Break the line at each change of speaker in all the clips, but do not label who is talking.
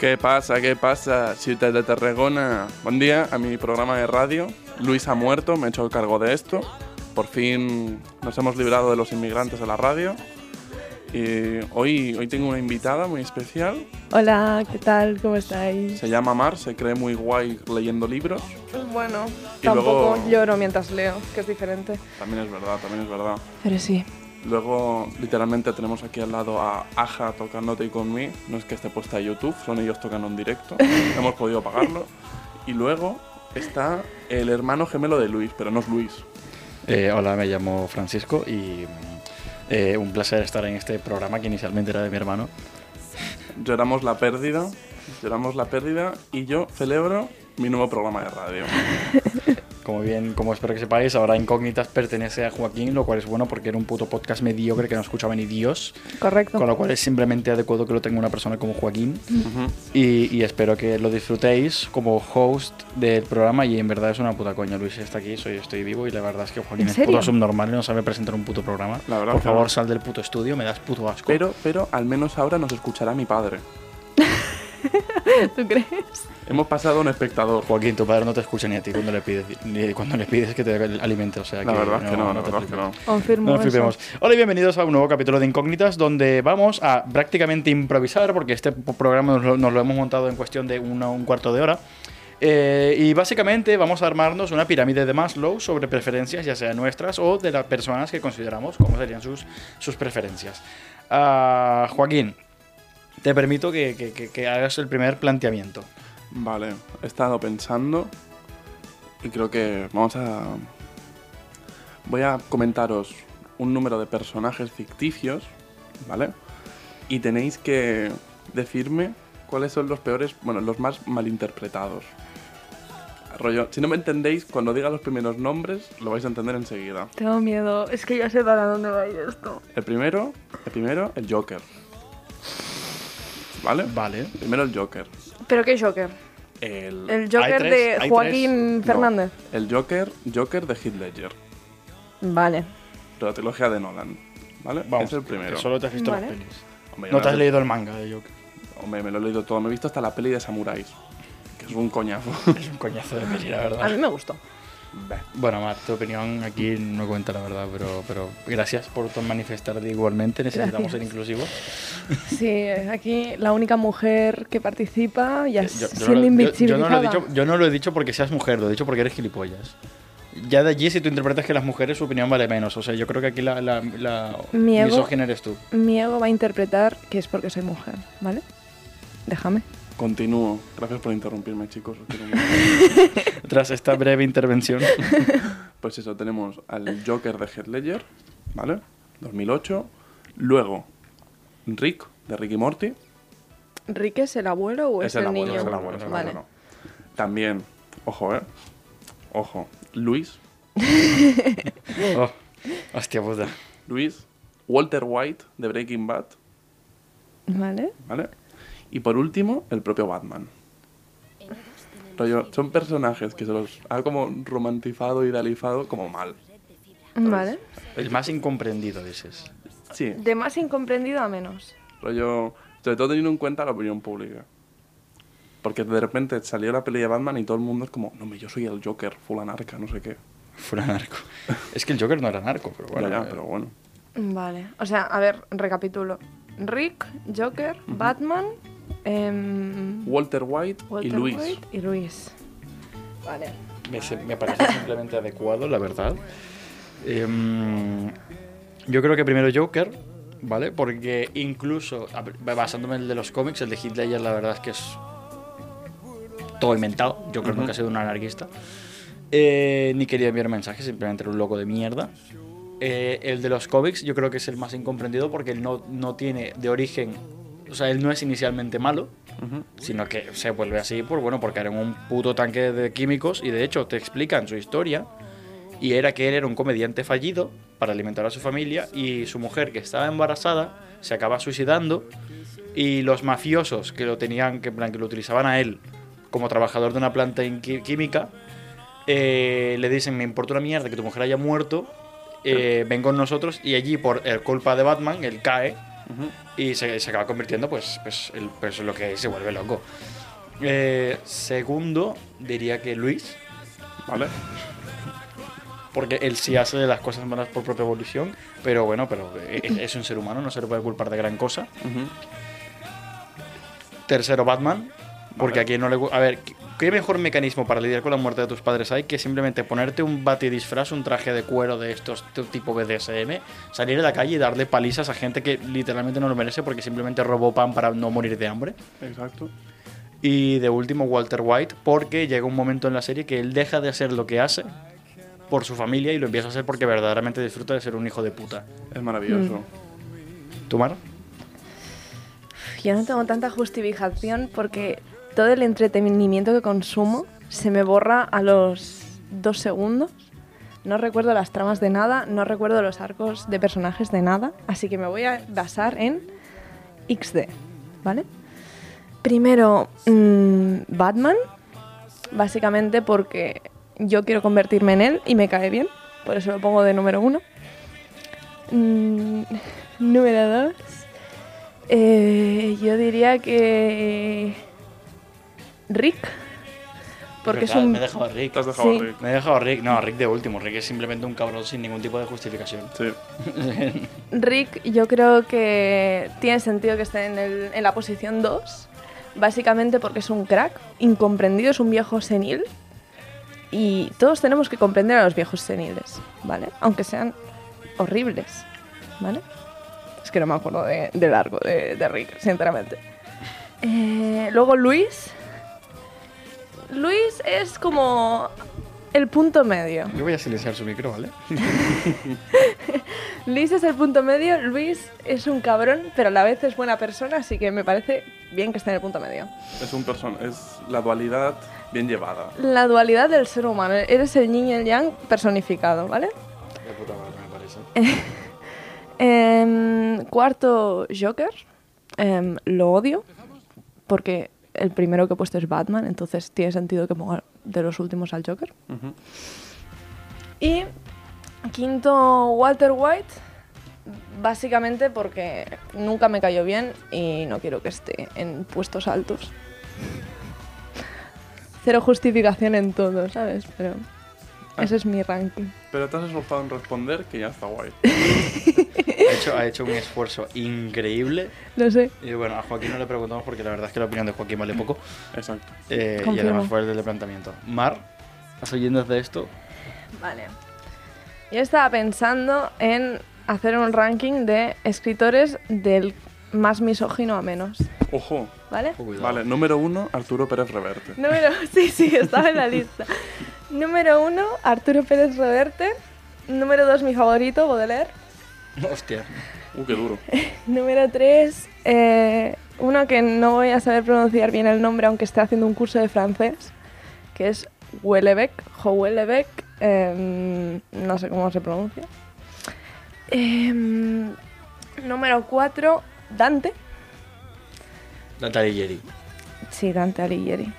Què passa, què passa, ciutat de Tarragona? Buen día a mi programa de radio. Luis ha muerto, me he hecho cargo de esto. Por fin nos hemos librado de los inmigrantes de la radio. Y hoy, hoy tengo una invitada muy especial.
Hola, ¿qué tal? ¿Cómo estáis?
Se llama Mar, se cree muy guay leyendo libros.
Pues Bueno,
Y
tampoco
luego-
lloro mientras leo, que es diferente.
También es verdad, también es verdad.
Pero sí.
Luego, literalmente, tenemos aquí al lado a Aja tocándote y con mí. No es que esté puesta a YouTube, son ellos tocando en directo. Hemos podido pagarlo. Y luego está el hermano gemelo de Luis, pero no es Luis.
Eh, hola, me llamo Francisco y mm, eh, un placer estar en este programa que inicialmente era de mi hermano.
Lloramos la pérdida, lloramos la pérdida y yo celebro mi nuevo programa de radio.
Como bien, como espero que sepáis, ahora Incógnitas pertenece a Joaquín, lo cual es bueno porque era un puto podcast mediocre que no escuchaba ni Dios,
Correcto.
con lo cual es simplemente adecuado que lo tenga una persona como Joaquín. Y, y espero que lo disfrutéis como host del programa y en verdad es una puta coña. Luis está aquí, soy, estoy vivo y la verdad es que Joaquín
¿En
es
serio?
puto subnormal y no sabe presentar un puto programa.
La verdad
Por
que no.
favor, sal del puto estudio, me das puto asco.
Pero, pero al menos ahora nos escuchará mi padre.
¿Tú crees?
Hemos pasado a un espectador.
Joaquín, tu padre no te escucha ni a ti cuando le pides, ni cuando le pides que te alimente, o sea
La verdad es que no, la
te
verdad es que no.
flipes.
Confirmo.
No nos
eso.
flipemos. Hola y bienvenidos a un nuevo capítulo de Incógnitas donde vamos a prácticamente improvisar porque este p- programa nos lo, nos lo hemos montado en cuestión de una- un cuarto de hora. Eh, y básicamente vamos a armarnos una pirámide de Maslow sobre preferencias, ya sea nuestras o de las personas que consideramos como serían sus, sus preferencias. Ah, Joaquín, te permito que- que- que- que hagas el primer planteamiento.
Vale, he estado pensando y creo que vamos a... Voy a comentaros un número de personajes ficticios, ¿vale? Y tenéis que decirme cuáles son los peores, bueno, los más malinterpretados. Rollo, si no me entendéis, cuando diga los primeros nombres, lo vais a entender enseguida.
Tengo miedo. Es que ya sé para dónde va a ir esto.
El primero, el primero, el Joker. ¿Vale?
Vale.
Primero el Joker.
¿Pero qué Joker?
El,
El Joker
tres,
de
hay
Joaquín
no,
Fernández.
el Joker, Joker de Heath Ledger.
Vale.
de la trilogía de Nolan. ¿Vale? es el primero.
que Solo te has visto
Vale.
las pelis.
Hombre, yo
No te has
me-
leído el manga eh, de Joker.
Hombre, me lo he leído todo. Me he visto hasta la peli de Samuráis. Que es un coñazo.
Es un coñazo de peli, la
A mí
verdad.
me gustó.
Bueno, Mar, tu opinión aquí no cuenta, la verdad, pero, pero gracias por tu manifestarte igualmente. Necesitamos ser inclusivos.
Sí, aquí la única mujer que participa ya
Eh,
es
no
siendo
lo- yo no lo
invisibilizada.
he dicho, yo no lo he dicho porque seas mujer, lo he dicho porque eres gilipollas. Ya de allí, si tú interpretas que las mujeres, su opinión vale menos. O sea, yo creo que aquí la, la, la
Mi ego-
misógina eres tú.
Mi ego va a interpretar que es porque soy mujer, ¿vale? Déjame.
Continúo. Gracias por interrumpirme, chicos. Os quiero mucho.
Tras esta breve intervención,
pues eso, tenemos al Joker de Heath Ledger. ¿Vale? 2008. Luego, Rick, de Ricky Morty.
¿Rick es el abuelo o Uh, es, el,
abuelo,
niño?
es el abuelo, es el
vale.
abuelo. También, ojo, ¿eh? Ojo. Luis.
oh, hostia puta.
Luis. Walter White, de Breaking Bad.
Vale.
¿vale? Y por último, el propio Batman. Rollo, son personajes que se los ha como romantizado, idealizado como mal.
Vale.
El más incomprendido, dices.
Sí,
De más incomprendido a menos.
rollo, sobre todo teniendo en cuenta la opinión pública. Porque de repente salió la peli de Batman y todo el mundo es como, no, hombre, yo soy el Joker, full anarca, no sé qué.
Fuera narco. Es que el Joker no era narco, pero bueno.
Bueno,
eh,
pero bueno.
Vale. O sea, a ver, recapitulo. Rick, Joker, Batman, em,
Walter White
Walter
y Luis.
White y Luis. Vale.
me, se- me parece simplemente adecuado, la verdad. Em, yo creo que primero Joker, ¿vale? Porque incluso, a ver, basándome en el de los cómics, el de Hitler, la verdad es que es todo inventado. Yo creo que nunca he sido un anarquista. Eh, ni quería enviar mensajes, simplemente era un loco de mierda. Eh, el de los cómics yo creo que es el más incomprendido porque él no, no tiene de origen, o sea, él no es inicialmente malo, sino que se vuelve así por, bueno, porque era un puto tanque de químicos y de hecho te explican su historia y era que él era un comediante fallido para alimentar a su familia y su mujer que estaba embarazada se acaba suicidando y los mafiosos que lo tenían que, en plan, que lo utilizaban a él como trabajador de una planta en qui- química eh, le dicen me importa una mierda que tu mujer haya muerto eh, ven con nosotros y allí por eh, culpa de Batman él cae y se, se acaba convirtiendo pues pues, el- pues lo que es, se vuelve loco Eh, segundo diría que Luis
¿Vale?
porque él sí hace de las cosas malas por propia evolución, pero bueno, pero es, es un ser humano, no se le puede culpar de gran cosa.
Ujú.
Tercero, Batman, porque
Vale.
aquí no le gu- A ver, ¿qué- ¿qué mejor mecanismo para lidiar con la muerte de tus padres hay que simplemente ponerte un batidisfraz, un traje de cuero de estos t- tipo BDSM, salir a la calle y darle palizas a gente que literalmente no lo merece porque simplemente robó pan para no morir de hambre?
Exacto.
Y de último, Walter White, porque llega un momento en la serie que él deja de hacer lo que hace por su familia y lo empieza a hacer porque verdaderamente disfruta de ser un hijo de puta.
Es maravilloso.
¿Tú, Mar?
Yo no tengo tanta justificación porque todo el entretenimiento que consumo se me borra a los dos segundos. No recuerdo las tramas de nada, no recuerdo los arcos de personajes de nada, así que me voy a basar en XD, ¿vale? Primero, mm, Batman, básicamente porque yo quiero convertirme en él y me cae bien, por eso lo pongo de número uno. Mm, número dos, eh, yo diría que Rick, porque es
Verdad,
un
Me he dejado a Rick.
Te has dejado
Sí.
rico.
Me he dejado a Rick. No, a Rick de último. Rick es simplemente un cabrón sin ningún tipo de justificación.
Sí.
Rick, yo creo que tiene sentido que esté en, el- en la posición 2, básicamente porque es un crack, incomprendido, es un viejo senil. Y todos tenemos que comprender a los viejos seniles, ¿vale? Aunque sean horribles, ¿vale? Es que no me acuerdo de, de largo de, de Rick, sinceramente. Eh, luego Luis. Luis es como el punto medio.
Yo voy a silenciar su micro, ¿vale?
Luis es el punto medio, Luis es un cabrón, pero a la vez es buena persona, así que me parece bien que esté en el punto medio.
Es un person es la dualidad bien llevada.
La dualidad del ser humano, eres el yin y el yang personificado, ¿vale?
De puta madre, me parece.
Em, cuarto, Joker. Em, lo odio, porque el primero que he puesto es Batman, entonces tiene sentido que ponga de los últimos al Joker.
Ujú.
Y quinto, Walter White. Básicamente porque nunca me cayó bien y no quiero que esté en puestos altos. Cero justificación en todo, ¿sabes? Pero ese es mi ranking.
Pero te has esforzado en responder que ya está guay.
Ha hecho, ha hecho un esfuerzo increíble.
No sé.
Y bueno, a Joaquín no le preguntamos porque la verdad es que la opinión de Joaquín vale poco.
Exacto.
Eh, y
Confirmo.
además fue el del planteamiento. Mar, ¿estás oyendo de esto?
Vale. Yo estaba pensando en hacer un ranking de escritores del más misógino a menos,
Ojo.
¿vale?
Oh, Cuidado.
Vale, número uno, Arturo Pérez Reverte.
Número, sí, sí, estaba en la lista. Número uno, Arturo Pérez Roderte. Número dos, mi favorito, Baudelaire.
Hostia.
Uh, qué duro.
Número tres, eh, uno que no voy a saber pronunciar bien el nombre, aunque esté haciendo un curso de francés, que es Houellebecq, Houellebecq, em, no sé cómo se pronuncia. Em, número cuatro, Dante.
La Tarilleri.
Sí, Dante Alighieri.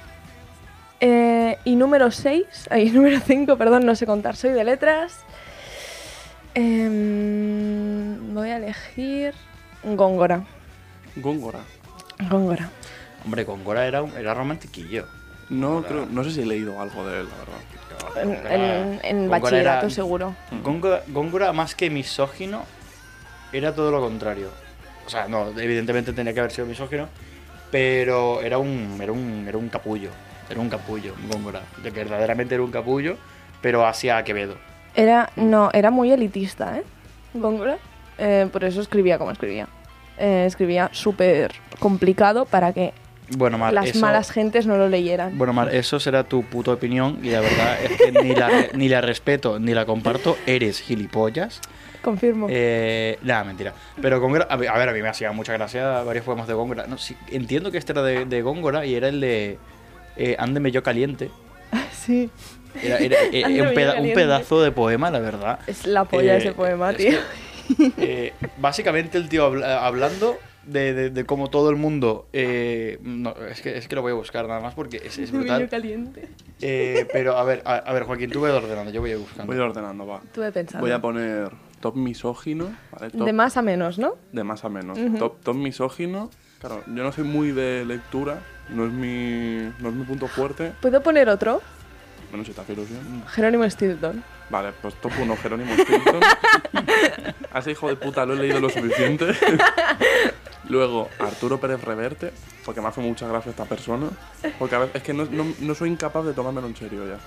Eh, y número 6, ay, número 5, perdón, no sé contar, soy de letras. Em, voy a elegir Góngora.
Góngora.
Góngora.
Hombre, Gongora era, un- era romantiquillo.
No, creo, no sé si he leído algo de él, la verdad.
En,
Góngora-
en- en
Ah, Góngora era-
bachillerato seguro.
Góngora, Góngora, más que misógino, era todo lo contrario. O sea, no, evidentemente tenía que haber sido misógino, pero era un, era un, era un capullo. Era un capullo, Góngora. De que verdaderamente era un capullo, pero hacia Quevedo.
Era,
Mm.
no, era muy elitista, ¿eh? Góngora. Eh, por eso escribía como escribía. Eh, escribía súper complicado para que
Bueno, Mar,
las
eso-
malas gentes no lo leyeran.
Bueno, Mar, eso será tu puta opinión y la verdad es que ni la, ni la respeto ni la comparto. Eres gilipollas.
Confirmo.
Eh, nada, mentira. Pero Góngora, a ver, a ver, a mí me hacía mucha gracia varios poemas de Góngora. No, sí, entiendo que este era de, de Góngora y era el de eh, Ándeme yo caliente.
sí.
Era, era, eh,
Ándeme yo
un, peda- un
caliente.
pedazo de poema, la verdad.
Es la polla
Eh,
ese poema,
es
tío.
Eh, básicamente el tío habla- hablando de, de- de cómo todo el mundo... eh, no, es, que, es que lo voy a buscar nada más porque es, es brutal.
caliente.
Eh, pero a ver, a, a ver, Joaquín, tú ve ordenando, yo voy a ir buscando.
Voy a ir ordenando, va.
Tuve pensado.
Voy a poner top misógino. ¿vale? Top-
De más a menos, ¿no?
de más a menos. top, top misógino. Claro, yo no soy muy de lectura, no es mi, no es mi punto fuerte.
¿Puedo poner otro?
Bueno, si te hace ilusión.
Jerónimo Stilton.
Vale, pues top 1, Jerónimo Stilton. A ese hijo de puta lo he leído lo suficiente. Luego, Arturo Pérez Reverte, porque me hace mucha gracia esta persona. Porque a veces es que no, no- no soy incapaz de tomármelo en serio ya.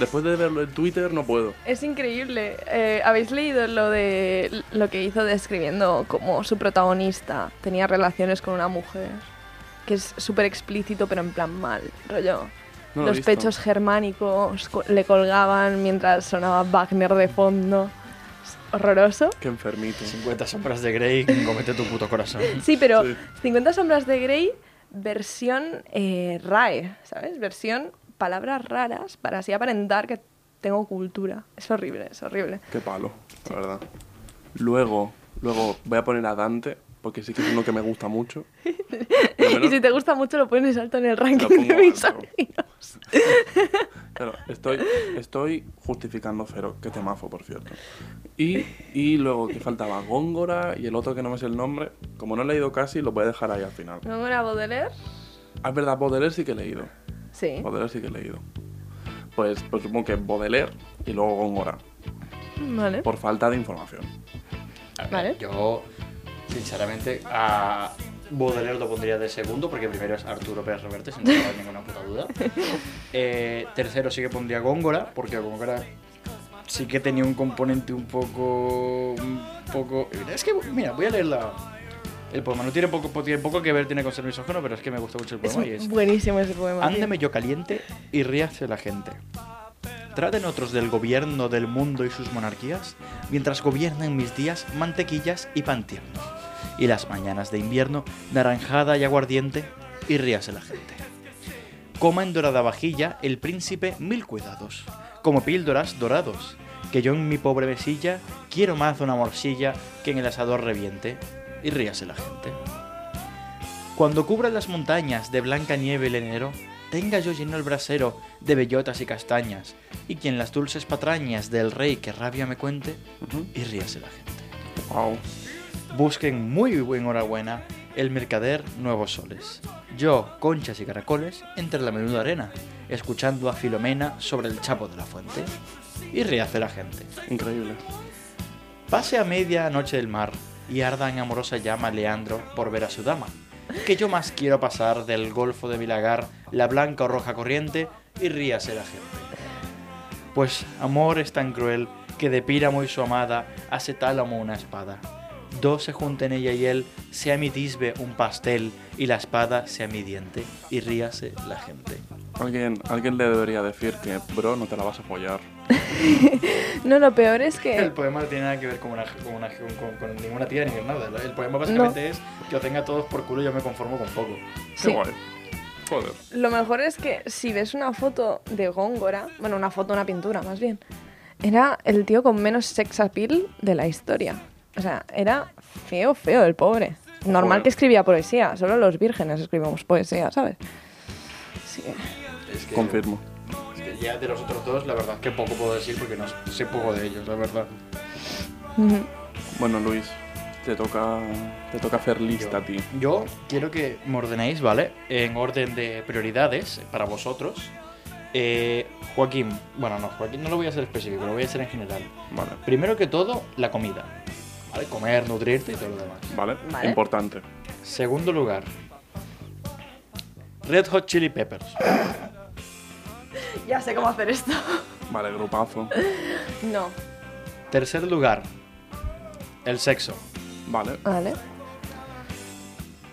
Después de verlo en Twitter, no puedo.
Es increíble. Eh, ¿Habéis leído lo de lo que hizo describiendo cómo su protagonista tenía relaciones con una mujer? Que es súper explícito, pero en plan mal. Rollo.
No lo he
Los
visto.
pechos germánicos co- le colgaban mientras sonaba Wagner de fondo. Es horroroso.
Qué enfermito.
50 sombras de Grey, comete tu puto corazón.
Sí, pero
Sí.
50 sombras de Grey versión eh, RAE, ¿sabes? Versión palabras raras para así aparentar que tengo cultura. Es horrible, es horrible.
Qué palo, la verdad. Luego, luego voy a poner a Dante, porque sí que es uno que me gusta mucho. Por lo
Y
menos-
si te gusta mucho lo pones alto en el ranking
pongo
de mis
alto.
amigos.
Claro, estoy, estoy justificando Fero, que temazo, por cierto. Y, y luego que faltaba Góngora y el otro que no me sé el nombre. Como no he leído casi, lo voy a dejar ahí al final.
¿No era Baudelaire?
Ah, Es verdad, Baudelaire sí que he leído.
Sí.
Baudelaire sí que he leído. Pues, pues supongo que Baudelaire y luego Góngora,
Vale.
por falta de información.
A ver,
Vale.
Yo, sinceramente, a Baudelaire lo pondría de segundo, porque primero es Arturo Pérez Reverte, sin duda, ninguna puta duda. Eh, tercero sí que pondría Góngora, porque Góngora sí que tenía un componente un poco... Un poco... Es que, mira, voy a leer la... El poema no tiene poco, tiene poco que ver, tiene con ser misógino, pero es que me gusta mucho el
Es
poema. y es,
buenísimo ese poema. tío.
Ándeme yo caliente y ríase la gente. Traten otros del gobierno del mundo y sus monarquías, mientras gobiernan mis días mantequillas y pan tierno. Y las mañanas de invierno, naranjada y aguardiente, y ríase la gente. Coma en dorada vajilla el príncipe mil cuidados, como píldoras dorados, que yo en mi pobre mesilla quiero más de una morcilla que en el asador reviente, y ríase la gente. Cuando cubran las montañas de blanca nieve el enero, tenga yo lleno el brasero de bellotas y castañas, y quien las dulces patrañas del rey que rabia me cuente,
Ujú.
y ríase la gente.
Guau.
Busquen muy buen enhorabuena el mercader Nuevos Soles. Yo, conchas y caracoles, entre la menuda arena, escuchando a Filomena sobre el chapo de la fuente, y ríase la gente.
Increíble.
Pase a media noche del mar y arda en amorosa llama Leandro por ver a su dama. Que yo más quiero pasar del golfo de Milagar la blanca o roja corriente y ríase la gente. Pues amor es tan cruel que de Píramo y su amada hace tálamo una espada. Dos se junten ella y él, sea mi disbe un pastel y la espada sea mi diente y ríase la gente.
Alguien, alguien le debería decir que, bro, no te la vas a follar.
No, lo peor es
El
que.
poema no tiene nada que ver con, una, con, una- con- con- con ninguna tía ni con nada. El poema básicamente es que os tenga a todos por culo y yo me conformo con poco.
Qué
Sí.
guay. Joder.
Lo mejor es que si ves una foto de Góngora, bueno, una foto, una pintura más bien, era el tío con menos sex appeal de la historia. O sea, era feo, feo el pobre. Normal
Joder.
que escribía poesía, solo los vírgenes escribimos poesía, ¿sabes? Sí.
Es que,
Confirmo.
es que ya de los otros dos, la verdad es que poco puedo decir porque no sé poco de ellos, la verdad.
Ujú.
Bueno, Luis, te toca, te toca hacer lista a ti.
Yo quiero que me ordenéis, ¿vale? En orden de prioridades para vosotros. Eh, Joaquín, bueno, no, Joaquín no lo voy a hacer específico, lo voy a hacer en general.
Vale.
Primero que todo, la comida. ¿Vale? Comer, nutrirte y todo lo demás.
Vale,
Vale.
importante.
Segundo lugar, Red Hot Chili Peppers.
Ya sé cómo hacer esto.
Vale, grupazo.
No.
Tercer lugar, el sexo.
Vale,
Vale.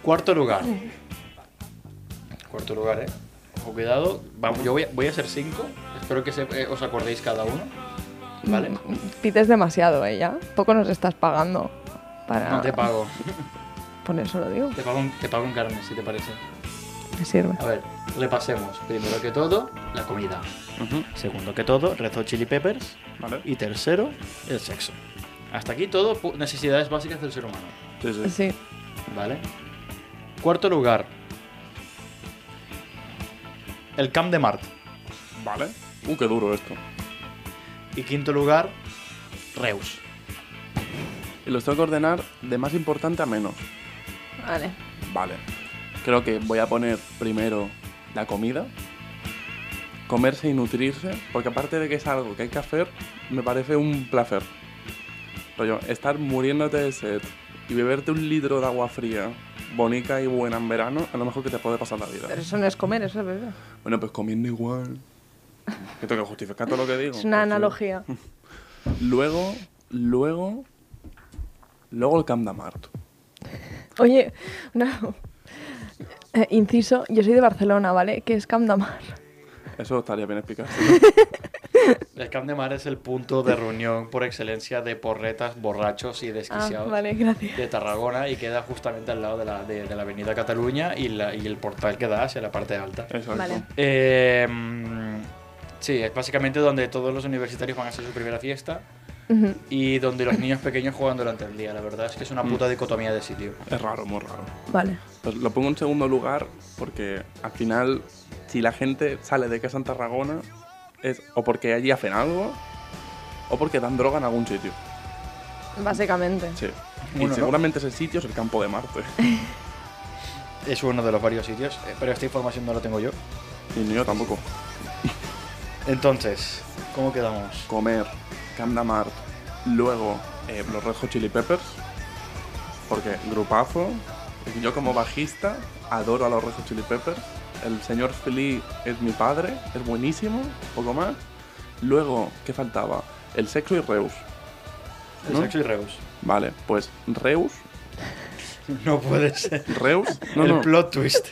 Cuarto lugar, Cuarto lugar, ¿eh? Ojo, cuidado. Vamos, yo voy a, voy a hacer cinco. Espero que se- eh, os acordéis cada uno. ¿Vale?
Pites demasiado, ¿eh? Ya. Poco nos estás pagando para...
No te pago.
Por eso lo digo.
Te pago, en- te pago en carne, si te parece.
Me sirve.
A ver, repasemos. Primero que todo, la comida.
Ujú,
Segundo que todo, Red Hot Chili Peppers.
¿Vale?
Y tercero, el sexo. Hasta aquí todo pu- necesidades básicas del ser humano.
Sí, sí.
Sí.
¿Vale? Cuarto lugar. El Camp de Mart.
Vale. Uh, qué duro esto.
Y quinto lugar, Reus.
Y los tengo que ordenar de más importante a menos.
Vale.
Vale. Creo que voy a poner primero la comida. Comerse y nutrirse. Porque aparte de que es algo que hay que hacer, me parece un placer. Rollo, estar muriéndote de sed y beberte un litro de agua fría, bonita y buena en verano, a lo mejor que te puede pasar la vida.
Pero eso no es comer, eso es beber.
Bueno, pues comiendo igual. Que tengo que justificar todo lo que digo.
Es una
Pues sí.
analogía.
Luego, luego, luego el Camp de Mart.
Oye, una... eh, inciso, yo soy de Barcelona, ¿vale? Que es Camp de Mar.
Eso estaría bien explicado.
El Camp de Mart es el punto de reunión por excelencia de porretas, borrachos y
Ah,
desquiciados.
vale, gracias.
de Tarragona y queda justamente al lado de la, de, de la avenida Cataluña y, la- y el portal que da hacia la parte alta.
Eso
Vale.
Eh, mm, sí, es básicamente donde todos los universitarios van a hacer su primera fiesta
Ujú.
y donde los niños pequeños juegan durante el día. La verdad es que es una puta dicotomía de sitio.
Es raro, muy raro.
Vale.
Pues lo pongo en segundo lugar porque al final, si la gente sale de casa en Tarragona, es o porque allí hacen algo o porque dan droga en algún sitio.
Básicamente.
Sí.
Uno,
y
¿no?
seguramente ese sitio es el campo de Marte.
Es uno de los varios sitios, eh, pero esta información no la tengo yo.
y ni yo tampoco.
Entonces, ¿cómo quedamos?
Comer, Camp de Mart, luego eh, los Red Hot Chili Peppers, porque grupazo. Yo como bajista adoro a los Red Hot Chili Peppers. El señor Flea es mi padre, es buenísimo, poco más. Luego, ¿qué faltaba? El sexo y Reus.
El
¿No?
sexo y Reus.
Vale, pues Reus.
No puede ser.
Reus. No,
el
no.
plot twist.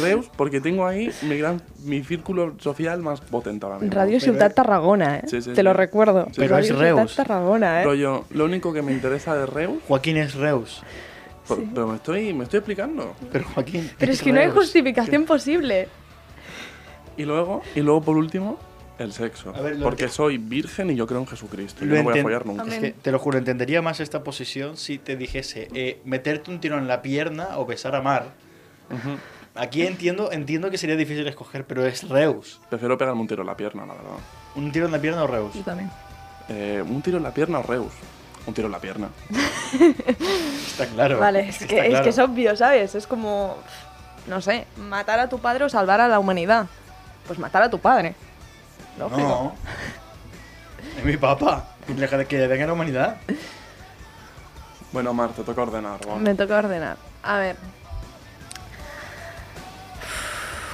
Reus, porque tengo ahí mi, gran, mi círculo social más potente ahora mismo.
Radio Ciutat Tarragona, ¿eh?
Sí, sí,
Te lo
sí.
recuerdo.
Sí, Pero
sí. es
Radio
Reus.
Ciutat Tarragona, ¿eh?
Rollo, lo único que me interesa de Reus.
Joaquín es Reus.
Pero, pero me, estoy, me estoy explicando.
Pero Joaquín.
Pero es que no hay
Reus.
justificación posible.
Y luego, y luego por último, el sexo.
A ver, lo
porque
que-
soy virgen y yo creo en Jesucristo. y
Lo
no voy a
enten-
follar nunca.
Amén.
Es que te lo juro, entendería más esta posición si te dijese eh, meterte un tiro en la pierna o besar a Mar.
Ujú.
Aquí entiendo, entiendo que sería difícil escoger, pero es Reus.
Prefiero pegarme un tiro en la pierna, la verdad.
¿Un tiro en la pierna o Reus?
también.
Eh, un tiro en la pierna o Reus. Un tiro en la pierna.
Está claro.
Vale, es
Está
que, es
claro.
que es obvio, ¿sabes? Es como, no sé, matar a tu padre o salvar a la humanidad. Pues matar a tu padre. Lógico.
No. Es mi papá. Y deja de que le venga la humanidad.
Bueno, Mar, te toca ordenar. va.
Me toca ordenar. A ver.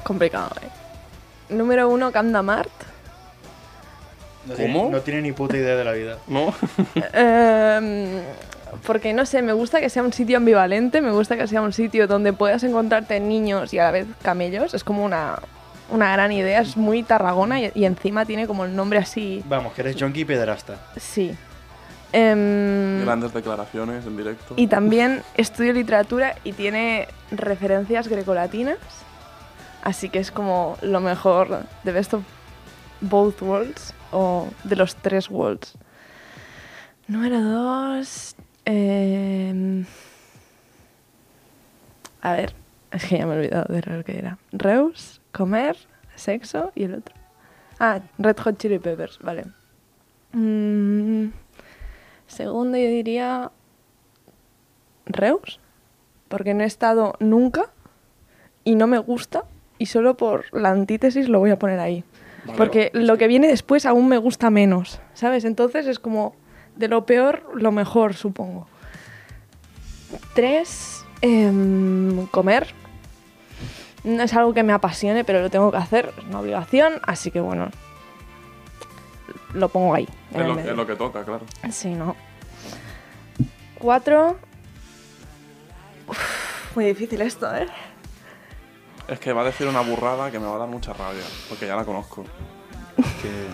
Complicado, ¿eh? Número uno, Candamart.
No tiene-
¿Cómo?
no tiene ni puta idea de la vida.
¿No?
Em, porque no sé, me gusta que sea un sitio ambivalente, me gusta que sea un sitio donde puedas encontrarte niños y a la vez camellos. Es como una, una gran idea, es muy tarragona y, y encima tiene como el nombre así.
Vamos, que eres junkie y pederasta.
Sí. Em,
Grandes declaraciones en directo.
y también estudio literatura y tiene referencias grecolatinas. Así que es como lo mejor de best of both worlds o de los tres worlds. Número dos. em, a ver, es que ya me he olvidado de lo que era. Reus, comer, sexo y el otro. Ah, Red Hot Chili Peppers, vale. Mm, segundo, yo diría Reus, porque no he estado nunca y no me gusta y solo por la antítesis lo voy a poner ahí.
Vale, pues
porque
es
lo
que-
que viene después aún me gusta menos, ¿sabes? Entonces es como de lo peor lo mejor, supongo. Tres, em, comer. No es algo que me apasione, pero lo tengo que hacer, es una obligación, así que bueno, lo pongo ahí. en
Es
el
lo,
medio.
es lo que toca, claro.
Sí, no. Cuatro. Uf, muy difícil esto, ¿eh?
Es que va a decir una burrada que me va a dar mucha rabia, porque ya la conozco.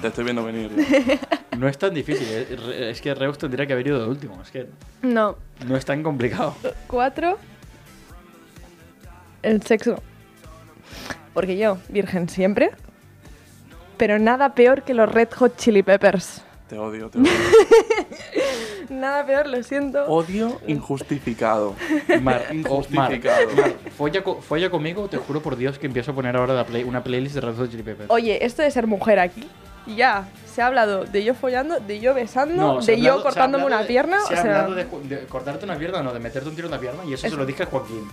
Te estoy viendo venir. ya.
No es tan difícil. eh, re- Es que Reus tendría que haber ido de último. Es que
No.
no es tan complicado.
Cuatro. El sexo. Porque yo, virgen siempre. Pero nada peor que los Red Hot Chili Peppers.
Te odio, te odio.
Nada peor, lo siento.
Odio injustificado.
Mar, o- Mar,
Injustificado.
Mar, folla, co- folla conmigo, te juro por Dios que empiezo a poner ahora la play- una playlist de Red Hot Chili Peppers.
Oye, esto de ser mujer aquí, ya, se ha hablado de yo follando, de yo besando,
se ha
de
hablado-
yo
se ha
cortándome
hablado
una
de-
pierna,
Se
o
ha
sea...
hablado de, ju- de cortarte una pierna, no, de meterte un tiro en la pierna. Y eso
Eso.
se lo dije a Joaquín.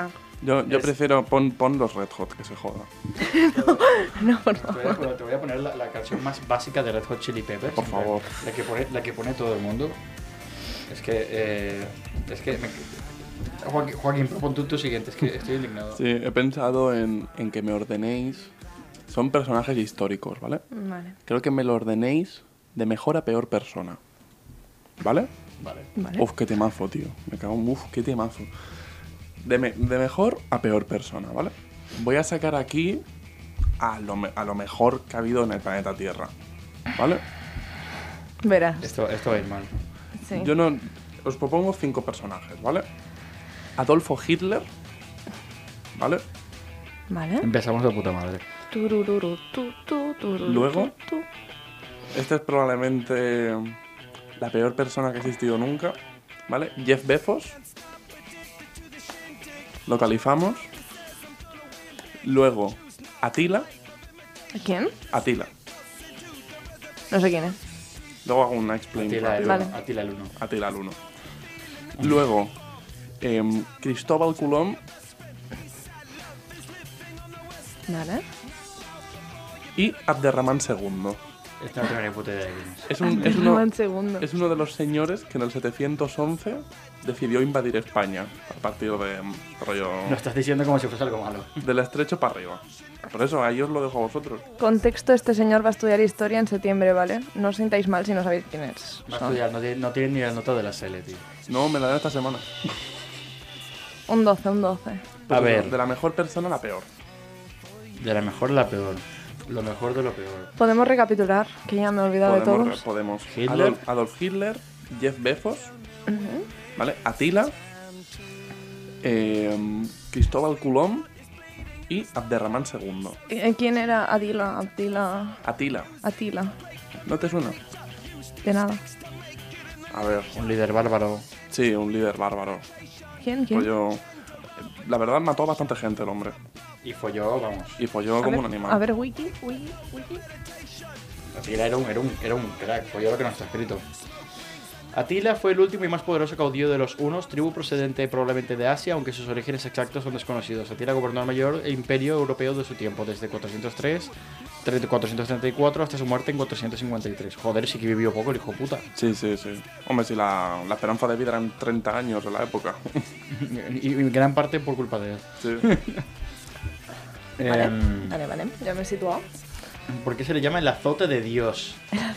Ah,
Yo, yo
Es-
prefiero pon, pon los Red Hot, que se joda.
no, por
Te
favor.
voy a, te voy a poner la, la canción más básica de Red Hot Chili Peppers.
Por favor.
La que pone, la que pone todo el mundo. Es que. eh, es que. me- Joaquín, Joaquín, propon tú tu siguiente. Es que estoy indignado.
Sí, he pensado en, en que me ordenéis. Son personajes históricos, ¿vale?
Vale,
Creo que me lo ordenéis de mejor a peor persona. ¿Vale?
Vale.
vale.
Uf, qué temazo, tío. Me cago en... Uf, qué temazo. De, me- de mejor a peor persona, ¿vale? Voy a sacar aquí a lo, me- a lo mejor que ha habido en el planeta Tierra. ¿Vale?
Verás,
Esto, esto va a ir mal.
sí.
Yo no... Os propongo cinco personajes, ¿vale? Adolfo Hitler, ¿vale?
Vale.
Empezamos de puta madre.
Turururu, tu, tu, tururu,
Luego.
tu, tu.
Este es probablemente la peor persona que ha existido nunca, ¿vale? Jeff Bezos. Localizamos. Luego, Atila.
¿A ¿Quién?
Atila.
No sé quién es.
Luego hago una explain.
Atila el
rápido.
uno,
Vale.
Atila el uno.
Atila el uno. Luego, em, Cristóbal Colón.
Vale.
Y Abderramán II.
Este no tengo ni puta idea de quién es.
Es, un- es
No,
uno,
en segundo.
es uno de los señores que en el 711 decidió invadir España a partir de em, rollo...
Lo estás diciendo como si fuese algo malo.
Del estrecho para arriba. Por eso, ahí os lo dejo a vosotros.
Contexto, este señor va a estudiar historia en septiembre, ¿vale? No os sintáis mal si no sabéis quién es.
Va a estudiar, no, tiene- no tiene ni la nota de la SELE, tío.
No, me la dan esta semana.
Un 12, un 12.
Pero
ver.
De la mejor persona a la peor.
De la mejor a la peor. Lo mejor de lo peor.
Podemos recapitular, que ya me he olvidado de
podemos,
todos.
podemos.
Hitler.
Adolf, Adolf Hitler, Jeff Bezos, ¿vale? Atila, eh, Cristóbal Colón y Abderramán II.
Eh, ¿Quién era Adila? Adila.
Atila,
Atila.
¿no te suena?
De nada.
A ver,
Un líder bárbaro.
sí, un líder bárbaro.
¿Quién? ¿Quién?
Folló, la verdad mató a bastante gente el hombre.
Y folló, vamos.
Y folló
a,
como
ver,
un animal.
a ver, wiki, wiki, wiki.
Atila era un, era un, era un crack, folló lo que no está escrito. Atila fue el último y más poderoso caudillo de los Hunos, tribu procedente probablemente de Asia, aunque sus orígenes exactos son desconocidos. Atila gobernó el mayor imperio europeo de su tiempo, desde 403, 30 434 hasta su muerte en 453. Joder, sí que vivió poco el hijo puta.
Sí, sí, sí. Hombre, si la, la esperanza de vida eran 30 años en la época.
Y, y gran parte por culpa de él.
Sí.
Vale,
Em,
vale, vale. Ya me he situado.
¿Por qué se le llama el azote de Dios?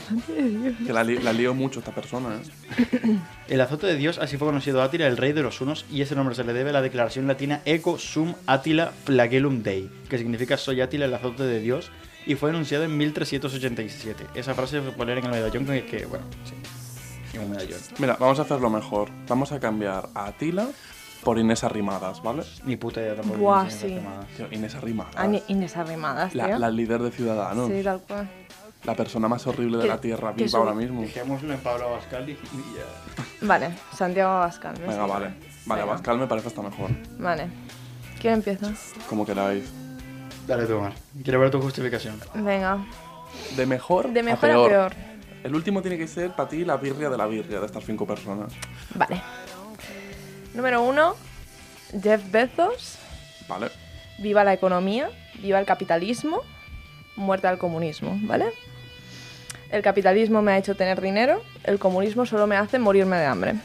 Que la, li- la lío mucho esta persona, ¿eh?
El azote de Dios, así fue conocido Átila, el rey de los hunos, y ese nombre se le debe a la declaración latina Eco Sum Attila Flagellum Dei, que significa Soy Átila, el azote de Dios, y fue enunciada en 1387. Esa frase se puede poner en el medallón que, que, bueno, sí, en un medallón.
Mira, vamos a hacerlo mejor. Vamos a cambiar a Atila por Inés Arrimadas, ¿vale? Ah,
Ni puta idea tampoco.
Buah,
no sé
sí.
qué más.
Tío, Inés Arrimadas.
Ani- Inés Arrimadas, tío.
la, la líder de Ciudadanos.
Sí, tal cual.
La persona más horrible de
Que-
la Tierra
que
viva
su-
ahora mismo.
Dejémoslo en Pablo Abascal y, y ya.
Vale, Santiago Abascal. me
Venga,
sirve.
vale. Vale,
Venga.
Pascal me parece hasta mejor.
Vale. ¿Quién empieza?
Como queráis.
Dale tú, Mar. Quiero ver tu justificación.
Venga.
De mejor,
De mejor a peor.
El último tiene que ser para ti la birria de la birria de estas cinco personas.
Vale. Número uno, Jeff Bezos.
¿Vale?
Viva la economía, viva el capitalismo, muerte al comunismo, ¿vale? El capitalismo me ha hecho tener dinero, el comunismo solo me hace morirme de hambre.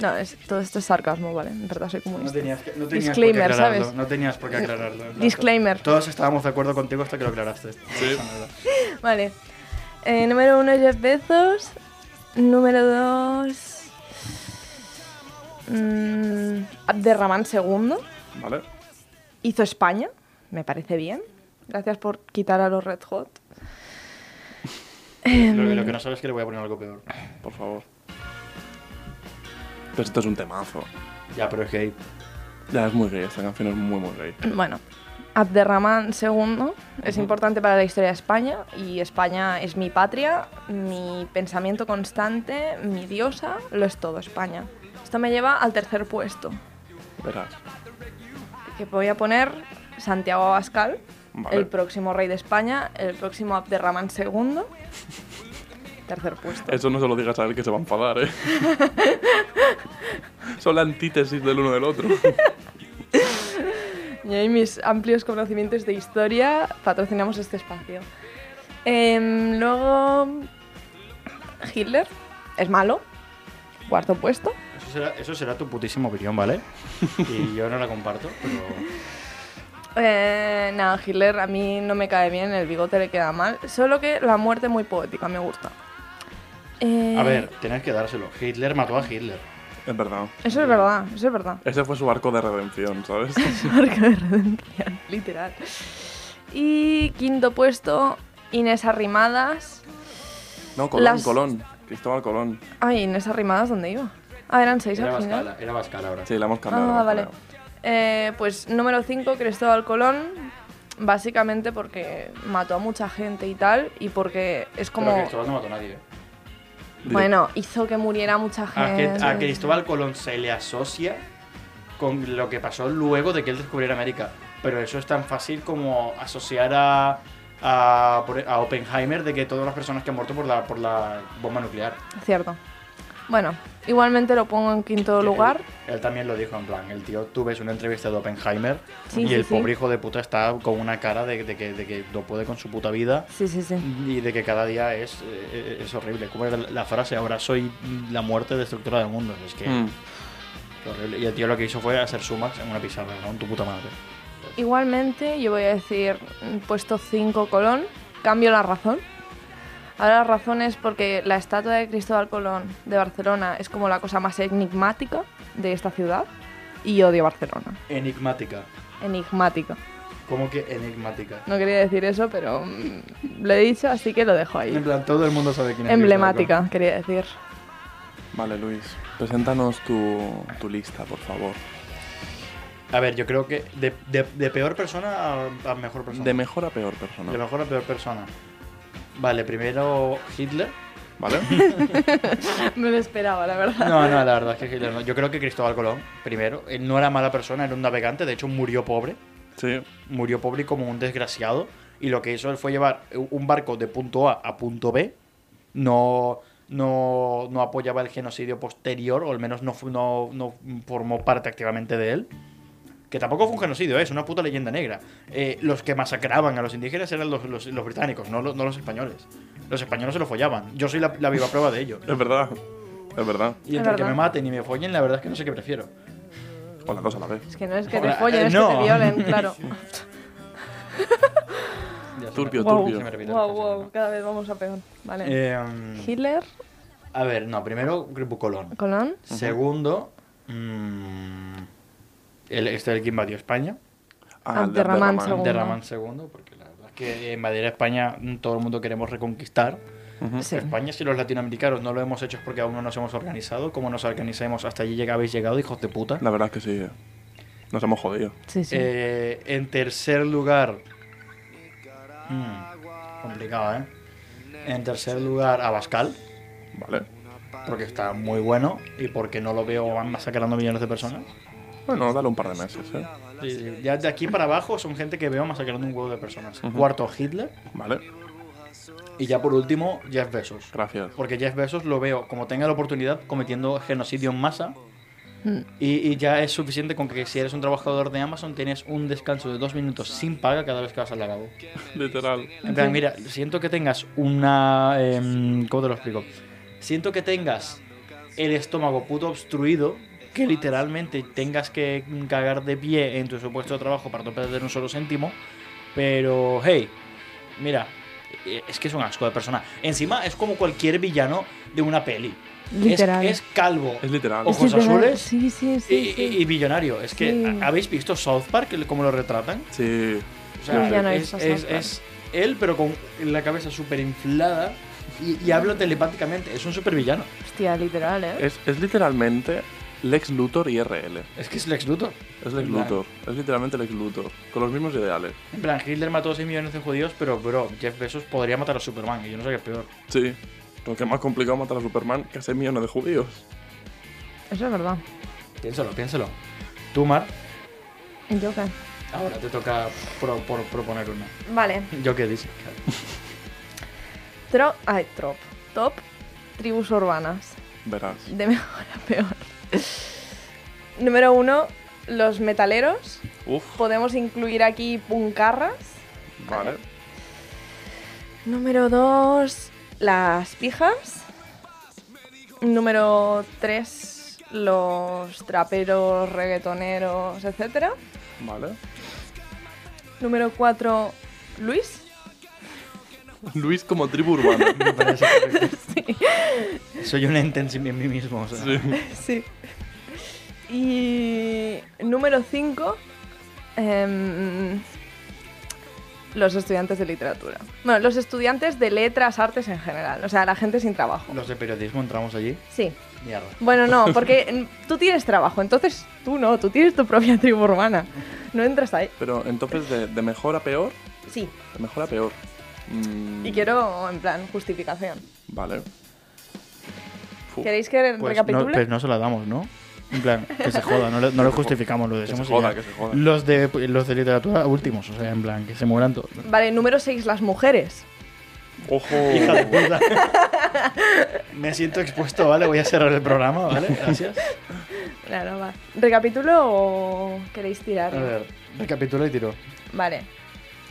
No, es- todo esto es sarcasmo, ¿vale? En verdad soy
No
comunista.
tenías, que- no tenías por
Disclaimer,
qué aclararlo.
¿sabes?
No tenías por qué aclararlo. en plan,
Disclaimer.
Todos estábamos de acuerdo contigo hasta que lo aclaraste.
Sí.
Vale. Eh, número uno, Jeff Bezos. Número dos... mm, Abderramán II.
¿Vale?
Hizo España. me parece bien. Gracias por quitar a los Red Hot. Em.
Lo, lo que no sabes es que le voy a poner algo peor.
Por favor. Pero esto es un temazo.
Ya, pero es que ahí-
Ya, es muy gay. Esta canción es muy, muy gay.
Bueno, Abderramán II es importante para la historia de España y España es mi patria, mi pensamiento constante, mi diosa, lo es todo España. Esto me lleva al tercer puesto,
Verás.
que voy a poner Santiago Abascal,
Vale.
el próximo rey de España, el próximo Abderramán II. Tercer puesto.
Eso no se lo digas a él que se va a enfadar, ¿eh? Son la antítesis del uno del otro.
Y ahí mis amplios conocimientos de historia patrocinamos este espacio. Em, luego, Hitler es malo, cuarto puesto.
Eso será, eso será tu putísima opinión, ¿vale? Y yo no la comparto, pero.
Eh, nada, Hitler a mí no me cae bien, el bigote le queda mal, solo que la muerte muy poética me gusta. Eh,
A ver, tenés que dárselo. Hitler mató a Hitler.
Es verdad.
Eso es verdad, eso es verdad.
Ese fue su arco de redención, ¿sabes?
Arca de redención, literal. Y quinto puesto, Inés Arrimadas.
No, Colón,
Las-
Colón. Cristóbal Colón.
Ay, Inés Arrimadas, ¿dónde iba? Ah, eran seis
Era
al final.
Bascal, era Bascal ahora.
Sí, la hemos cambiado. la
Ah,
hemos
vale.
cambiado.
Eh, pues número 5, Cristóbal Colón. Básicamente porque mató a mucha gente y tal, y porque es
Como... Pero
como.
Cristóbal no mató a nadie. ¿eh?
Bueno, hizo que muriera mucha
A,
gente.
que- a Cristóbal Colón se le asocia con lo que pasó luego de que él descubriera América. Pero eso es tan fácil como asociar a, a, por- e- a Oppenheimer de que todas las personas que han muerto por la, por la bomba nuclear.
Cierto. Bueno, igualmente lo pongo en quinto
Que él-
lugar.
Él, también lo dijo, en plan, el tío, tú ves una entrevista de Oppenheimer
Sí,
y
sí,
el
sí.
pobre hijo de puta está con una cara de, de que, de que no puede con su puta vida
Sí, sí, sí.
y de que cada día es, eh, es horrible. ¿Cómo era la- la frase? Ahora soy la muerte destructora del mundo. Es que
Mm.
horrible. Y el tío lo que hizo fue hacer sumas en una pizarra, ¿no? En tu puta madre.
Igualmente, yo voy a decir mm, puesto 5 Colón. Cambio la razón. Ahora la razón es porque la estatua de Cristóbal Colón de Barcelona es como la cosa más enigmática de esta ciudad. Y odio Barcelona.
Enigmática.
Enigmática.
¿Cómo que enigmática?
No quería decir eso, pero mm, lo he dicho, así que lo dejo
En
ahí.
plan, todo el mundo sabe quién es.
Emblemática, quería decir.
Vale, Luis. Preséntanos tu, tu lista, por favor.
A ver, yo creo que de, de- de peor persona a, a mejor persona.
De mejor a peor
De
persona.
mejor a peor persona. Vale, primero Hitler.
¿Vale?
Me lo esperaba, la verdad.
No, no, la verdad es que Hitler no. Yo creo que Cristóbal Colón, primero, él no era mala persona, era un navegante, de hecho murió pobre.
Sí.
Murió pobre y como un desgraciado. Y lo que hizo él fue llevar un barco de punto A a punto B. No, no, no apoyaba el genocidio posterior, o al menos no, fu- no, no formó parte activamente de él. Que tampoco fue un genocidio, ¿eh? es una puta leyenda negra. Eh, los que masacraban a los indígenas eran los, los- los británicos, no los, no los españoles. Los españoles se lo follaban. Yo soy la, la viva prueba de ello.
Es verdad. Es verdad.
Y
Es
entre que
verdad.
me maten y me follen, la verdad es que no sé qué prefiero.
O las dos a la vez.
Es que no es que te
Hola,
follen,
eh,
es que
no.
te violen, claro.
Ya se
Turbio,
me-
Wow.
se me
turbio.
repite la
wow,
frase,
wow,
¿no?
cada vez vamos a peor. Vale.
Eh,
Hitler,
a ver, no, primero Grupo Colón.
Colón.
Segundo, mm, el, este el que invadió España.
Ah, el de Abderramán.
Abderramán Segundo.
De Ramán II, porque la verdad es que invadir a España mm, todo el mundo queremos reconquistar.
Ujú.
Sí.
España, si los latinoamericanos no lo hemos hecho es porque aún no nos hemos organizado. Como nos organizemos hasta allí llega- habéis llegado, hijos de puta.
La verdad es que sí. eh. Nos hemos jodido.
Sí, sí.
Eh, en tercer lugar. mm, complicado, ¿eh? En tercer lugar, Abascal,
Vale.
porque está muy bueno y porque no lo veo masacrando millones de personas.
Bueno, dale un par de meses, ¿eh?
Sí, Ya de aquí para abajo son gente que veo masacrando un huevo de personas. Cuarto, Hitler.
Vale.
Y ya por último, Jeff Bezos.
Gracias.
Porque Jeff Bezos lo veo, como tenga la oportunidad, cometiendo genocidio en masa.
Mm.
Y, y ya es suficiente con que si eres un trabajador de Amazon tienes un descanso de dos minutos sin paga cada vez que vas al lavabo.
Literal.
En plan, mira, siento que tengas una... em, ¿Cómo te lo explico? Siento que tengas el estómago puto obstruido, que literalmente tengas que cagar de pie en tu supuesto trabajo para no perder un solo céntimo, pero hey, mira, eh, es que es un asco de persona. Encima es como cualquier villano de una peli. Es-
Literal.
Es, calvo,
Es literal.
ojos
literal,
azules
Sí, sí, sí.
y,
sí.
y- y millonario. Es que,
Sí.
¿habéis visto South Park, cómo lo retratan?
Sí.
O sea,
Ya no
es,
hay
es-
SoundCloud.
es él, pero con la cabeza súper inflada y, y habla telepáticamente. Es un supervillano.
Hostia, literal, ¿eh?
Es, es literalmente Lex Luthor y RL.
Es que es Lex Luthor.
Es Lex
En plan-
Luthor. Es literalmente Lex Luthor. Con los mismos ideales.
En plan, Hitler mató a 6 millones de judíos, pero bro, Jeff Bezos podría matar a Superman y yo no sé qué es peor.
Sí. Porque es más complicado matar a Superman que a 6 millones de judíos.
Eso es verdad.
Piénsalo, piénsalo. Tú, Mar,
El Joker.
ahora te toca pro- por- proponer una.
Vale.
Yo qué dices.
Tro ay, trop. Top tribus urbanas.
Verás.
De mejor a peor. Número uno, los metaleros.
Uf,
Podemos incluir aquí puncarras.
vale.
Número 2, las pijas. Número 3, los traperos, reggaetoneros, etc.
Vale.
Número 4, Luis.
Luis como tribu urbana.
Me parece Soy un ente en sí- en mí mismo. o sea.
Sí.
Sí. Y número 5, los estudiantes de literatura. Bueno, los estudiantes de letras, artes en general. O sea, la gente sin trabajo.
Los de periodismo entramos allí.
Sí.
Mierda.
Bueno, no, porque mm, tú tienes trabajo, entonces tú no, tú tienes tu propia tribu urbana. No entras ahí.
Pero entonces, de, de mejor a peor,
Sí.
de mejor a peor. Mm,
Y quiero, en plan, justificación.
Vale. Fu,
¿Queréis que
Pues no,
recapitule?
pues no se la damos, ¿no? En plan, que se joda, no, le- no lo justificamos, lo decimos. y
joda,
ya.
que se joda.
Los de, los de literatura últimos, o sea, en plan, que se mueran todos.
Vale, número 6, las mujeres.
Hija de
Ojo.
puta. Me siento expuesto, ¿vale? Voy a cerrar el programa, ¿vale? Gracias.
Claro, va. ¿Recapitulo o queréis
A
tirar?
ver, recapitulo y tiro.
Vale.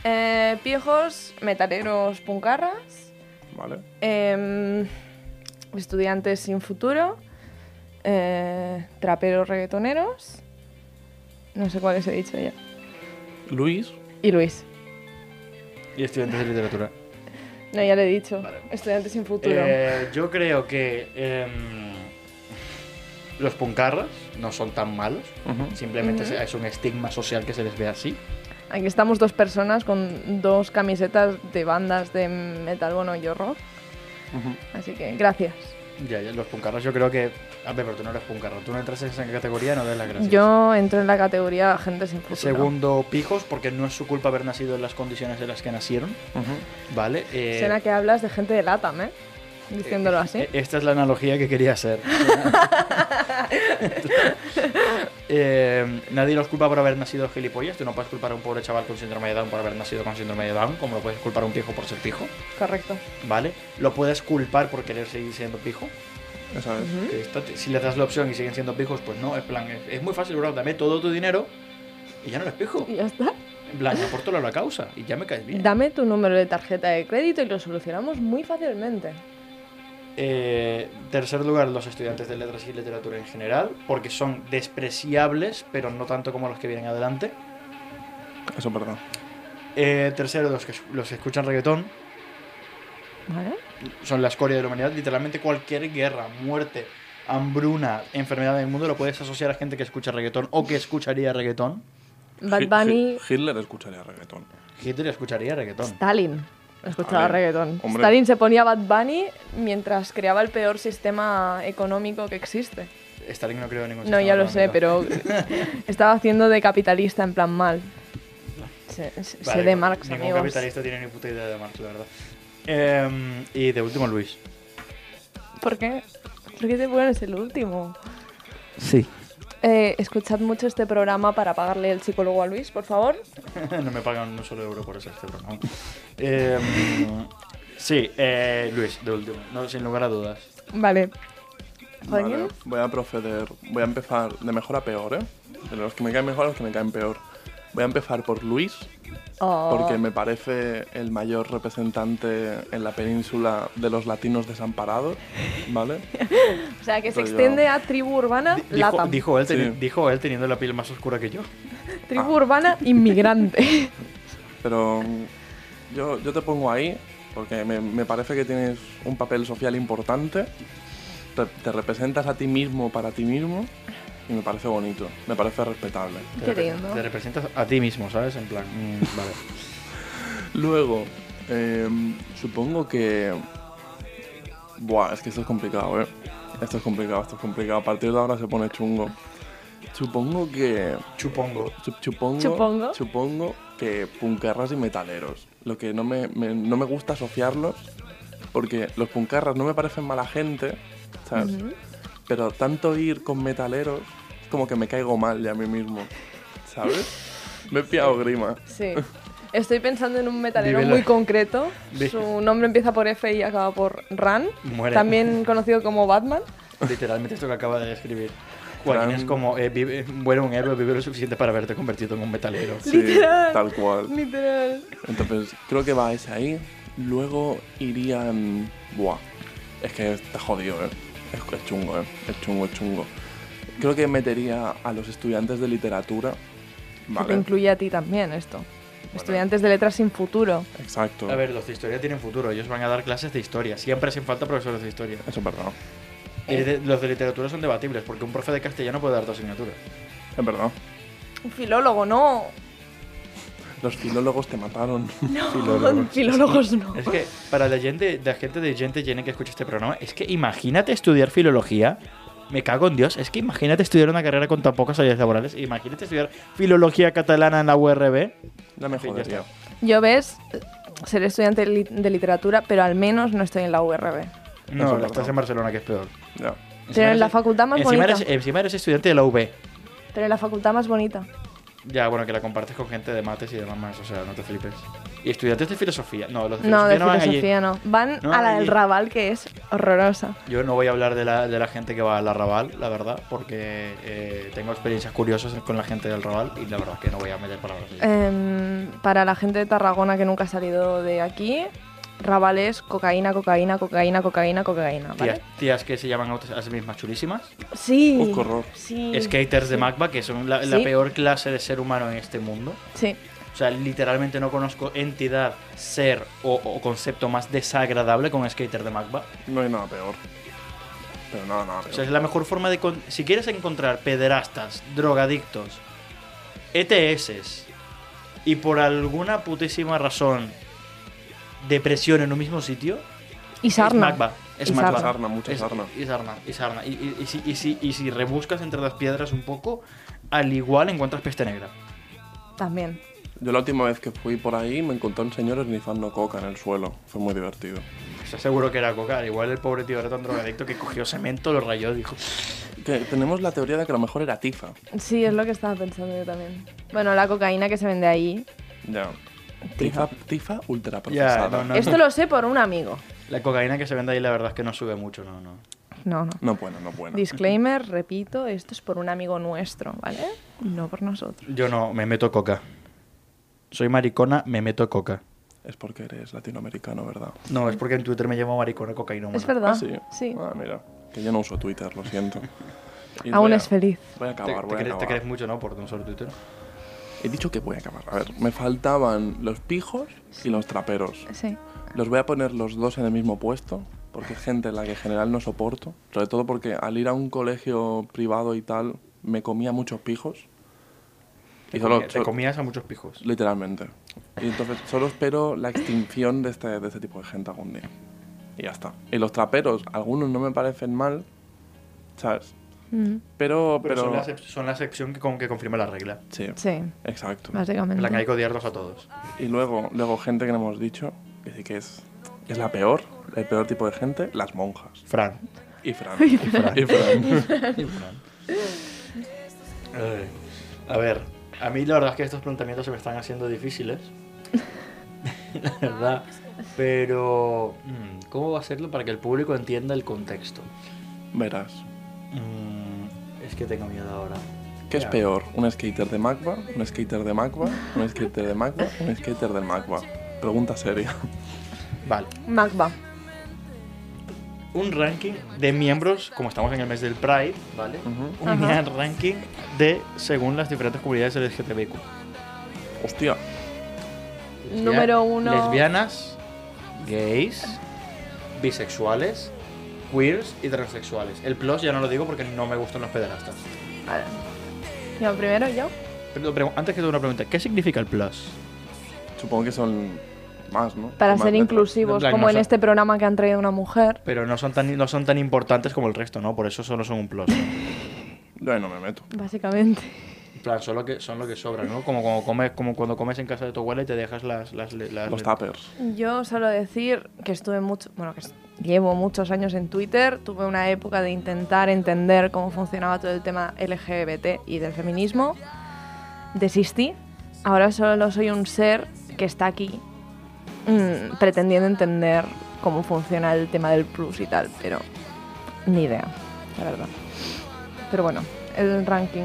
Eh, piejos, metaleros, puncarras,
vale.
em, estudiantes sin futuro, eh, traperos, reggaetoneros. No sé cuáles he dicho ya.
Luis.
Y Luis.
Y estudiantes de literatura.
No, ya lo he dicho.
Vale.
Estudiantes sin futuro.
Eh, yo creo que em, los puncarras no son tan malos.
Ujú.
Simplemente
Ujú.
es un estigma social que se les ve así.
Aquí estamos dos personas con dos camisetas de bandas de metal, bueno, yo rock.
Ujú.
Así que gracias.
Ya, ya, los puncarras yo creo que... A ver, pero tú no eres puncarra. Tú no entras en esa categoría, no des las gracias.
Yo entro en la categoría gente sin futuro.
Segundo, pijos, porque no es su culpa haber nacido en las condiciones en las que nacieron,
Ujú.
¿vale? Eh,
Suena que hablas de gente de LATAM, ¿eh? Diciéndolo así.
eh, Esta es la analogía que quería hacer. Eh, nadie los culpa por haber nacido gilipollas. Tú no puedes culpar a un pobre chaval con síndrome de Down por haber nacido con síndrome de Down, como lo puedes culpar a un pijo por ser pijo,
Correcto.
¿vale? Lo puedes culpar por querer seguir siendo pijo.
Esa es.
¿Mm?
que esta te- si les das la opción y siguen siendo pijos, pues no, es plan, es, es muy fácil, bro, dame todo tu dinero y ya no eres pijo.
Y ya está.
En plan, apórtalo a la causa y ya me caes bien.
Dame tu número de tarjeta de crédito y lo solucionamos muy fácilmente.
Eh, tercer lugar, los estudiantes de letras y literatura en general, porque son despreciables, pero no tanto como los que vienen adelante.
Eso es verdad.
Eh, tercero, los que, es- los que escuchan reggaetón,
¿Vale?
son la escoria de la humanidad. Literalmente cualquier guerra, muerte, hambruna, enfermedad del mundo lo puedes asociar a gente que escucha reggaetón o que escucharía reggaetón.
Bad
Hi-
Bunny,
Hi- Hitler escucharía reggaetón.
Hitler escucharía reggaetón.
Stalin. Escuchaba
Stalin.
reggaetón.
Hombre.
Stalin se ponía Bad Bunny mientras creaba el peor sistema económico que existe.
Stalin no creo en ningún
No,
sistema
ya lo sé,
económico.
pero estaba haciendo de capitalista en plan mal. Se, se-
Vale,
sé de Marx,
ningún
amigos.
capitalista tiene ni puta idea de Marx, la verdad. Em, y de último, Luis.
¿Por qué? ¿Por qué te pones el último?
Sí.
Eh, escuchad mucho este programa para pagarle el psicólogo a Luis, por favor.
no me pagan un solo euro por hacer este programa. Em, sí, eh, Luis, de último, no, sin lugar a dudas.
Vale. Joaquín.
Vale, voy a proceder. Voy a empezar de mejor a peor, ¿eh? De los que me caen mejor a los que me caen peor. Voy a empezar por Luis,
Oh,
porque me parece el mayor representante en la península de los latinos desamparados, ¿vale?
o sea, que se
Pero yo-
extiende a tribu urbana
Di- Dijo,
LATAM.
dijo él teni-
Sí.
dijo él teniendo la piel más oscura que yo. ah.
Tribu urbana inmigrante.
Pero mm, yo, yo te pongo ahí porque me, me parece que tienes un papel social importante, te, te representas a ti mismo para ti mismo y me parece bonito, me parece respetable.
Qué
repre-
lindo.
te representas a ti mismo, ¿sabes? En plan, mm, vale.
Luego, eh, supongo que... Buah, es que esto es complicado, ¿eh? Esto es complicado, esto es complicado. A partir de ahora se pone chungo. Supongo que...
Chupongo.
Sup- Supongo,
Supongo.
supongo que puncarras y metaleros. Lo que no me, me- no me gusta asociarlos, porque los puncarras no me parecen mala gente, ¿sabes? Pero tanto ir con metaleros, es como que me caigo mal de a mí mismo, ¿sabes? me he pillado grima.
Sí. Estoy pensando en un metalero
Vívelo.
muy concreto.
Vi-
Su nombre empieza por F y acaba por Ran.
Muere.
También conocido como Batman.
Literalmente esto que acaba de escribir. Joaquín
Fran.
es como, eh, vive- bueno, un héroe vive lo suficiente para haberte convertido en un metalero.
Sí,
Literal.
tal cual.
Literal.
Entonces, creo que va ese ahí. Luego irían... Buah, es que está jodido, ¿eh? Es, es chungo, ¿eh? Es chungo, es chungo. Creo que metería a los estudiantes de literatura.
Que te incluye a ti también esto. Estudiantes de letras sin futuro.
Exacto.
A ver, los de historia tienen futuro, ellos van a dar clases de historia, siempre hacen falta profesores de historia.
Eso es verdad.
Eh, de- los de literatura son debatibles, porque un profe de castellano puede dar dos asignaturas.
Es verdad.
Un filólogo, no.
Los filólogos te mataron.
Filólogos.
Filólogos no.
Es que para la gente, la gente de gente llena que escucha este programa, es que imagínate estudiar filología. Me cago en Dios, es que imagínate estudiar una carrera con tan pocas salidas laborales. Imagínate estudiar filología catalana en la URB.
La me
Sí, ya
jodería.
está.
Yo ves, seré estudiante li- de literatura, pero al menos no estoy en la URB.
Eso
No,
es
la estás
verdad.
en Barcelona, que es peor.
Ya.
Pero en la
eres-
facultad más
encima
bonita.
eres, encima eres estudiante de la UB.
Pero en la facultad más bonita.
Ya, bueno, que la compartes con gente de mates y demás más, o sea, no te flipes. Y estudiantes de filosofía. No, los de
No,
filosofía
de
no, van allí.
filosofía no. Van
No
a
van
la del
allí.
Raval, que es horrorosa.
Yo no voy a hablar de la, de la gente que va al arrabal, la verdad, porque eh, tengo experiencias curiosas con la gente del arrabal y la verdad que no voy a meter palabras. ahí.
Em, para la gente de Tarragona que nunca ha salido de aquí, Raval es cocaína, cocaína, cocaína, cocaína, cocaína.
tías,
¿vale?
tías que se llaman a otras- a sí mismas chulísimas.
Sí.
Uf, qué horror.
Mm. Sí.
Skaters de Magba, que son la, la
Sí.
peor clase de ser humano en este mundo.
Sí.
O sea, literalmente no conozco entidad, ser o, o concepto más desagradable con skater de Magba.
No hay nada peor. Pero nada, nada
O
peor.
sea, es la mejor forma de... con- si quieres encontrar pederastas, drogadictos, ETS y por alguna putísima razón depresión en un mismo sitio,
Y Sarna.
es Magba. Es
Y
Magba.
sarna.
Sarna, mucha
Es-
sarna.
Y sarna, y sarna. Y, y- y si, y si- y si rebuscas entre las piedras un poco, al igual encuentras peste negra.
También.
Yo la última vez que fui por ahí me encontré un señor esnifando coca en el suelo. Fue muy divertido.
Estoy seguro que era coca. al Igual el pobre tío era tan drogadicto que cogió cemento, lo rayó y dijo...
Que tenemos la teoría de que a lo mejor era tifa.
Sí, es lo que estaba pensando yo también. Bueno, la cocaína que se vende ahí.
Ya. Tifa, tifa ultra
Ya,
procesada.
no, no, no.
Esto lo sé por un amigo.
La cocaína que se vende ahí la verdad es que no sube mucho, no, no.
No, no.
No bueno, no bueno.
Disclaimer, repito, esto es por un amigo nuestro, ¿vale? No por nosotros.
Yo no, me meto coca. Soy maricona, me meto coca.
Es porque eres latinoamericano, ¿verdad?
No, es porque en Twitter me llamo maricona cocainómana.
Es verdad.
Ah, sí.
Sí.
Ah, mira. Que yo no uso Twitter, lo siento. Y
Aún
voy a-
es feliz.
Voy a
Te,
acabar,
te
voy a
crees, te
acabar.
crees mucho, ¿no? Por no usar Twitter.
He dicho que voy a acabar. A ver, me faltaban los pijos y los traperos.
Sí.
Los voy a poner los dos en el mismo puesto, porque es gente a la que en general no soporto. Sobre todo porque al ir a un colegio privado y tal, me comía muchos pijos.
Te,
Y solo,
comía- te
so-
comías a muchos pijos.
literalmente. Y entonces solo espero la extinción de este, de este tipo de gente algún día. Y ya está. Y los traperos, algunos no me parecen mal, ¿sabes?
Mm.
Pero,
Pero,
pero...
son, la excep- son la excepción que, con, que confirma la regla.
Sí,
Sí,
exacto.
En la que hay
básicamente.
que odiarlos a todos.
Y luego, luego gente que no hemos dicho, que sí que es, es la peor, el peor tipo de gente, las monjas.
Fran.
Y Fran. Y
Fran.
Y Fran.
Ay. A ver, a mí la verdad es que estos planteamientos se me están haciendo difíciles. la verdad. Pero, mm, ¿cómo va a hacerlo para que el público entienda el contexto?
Verás,
Mm, Es que tengo miedo ahora.
¿qué es
Ya.
peor? ¿Un skater de Magba? ¿Un skater de Magba? ¿Un skater de Magba? ¿Un skater del Magba? Pregunta seria.
Vale.
Magba.
Un ranking de miembros, como estamos en el mes del Pride, ¿vale?
Ujú.
Un
Ajá.
gran ranking de según las diferentes comunidades LGTBQ.
Hostia,
Lesbia-
Número uno.
Lesbianas, gays, bisexuales, queers y transexuales. El plus ya no lo digo porque no me gustan los pederastas.
Vale. Yo, primero yo.
Pero, pero antes que todo una pregunta, ¿qué significa el plus?
Supongo que son más, ¿no?
Para
Más
ser
letras.
inclusivos,
Black
como en
Mesa.
este programa que han traído una mujer.
Pero no son tan, no son tan importantes como el resto, ¿no? Por eso solo son un plus. ¿no?
Yo ahí no me meto.
Básicamente.
En plan, son lo que, son lo que sobra, ¿no? Como, como, comes, como cuando comes en casa de tu abuela y te dejas las... las, las-
Los tappers.
Yo solo decir que estuve mucho, bueno, que es- llevo muchos años en Twitter, tuve una época de intentar entender cómo funcionaba todo el tema LGBT y del feminismo, desistí, ahora solo soy un ser que está aquí mm, pretendiendo entender cómo funciona el tema del plus y tal, pero ni idea, la verdad. Pero bueno, el ranking.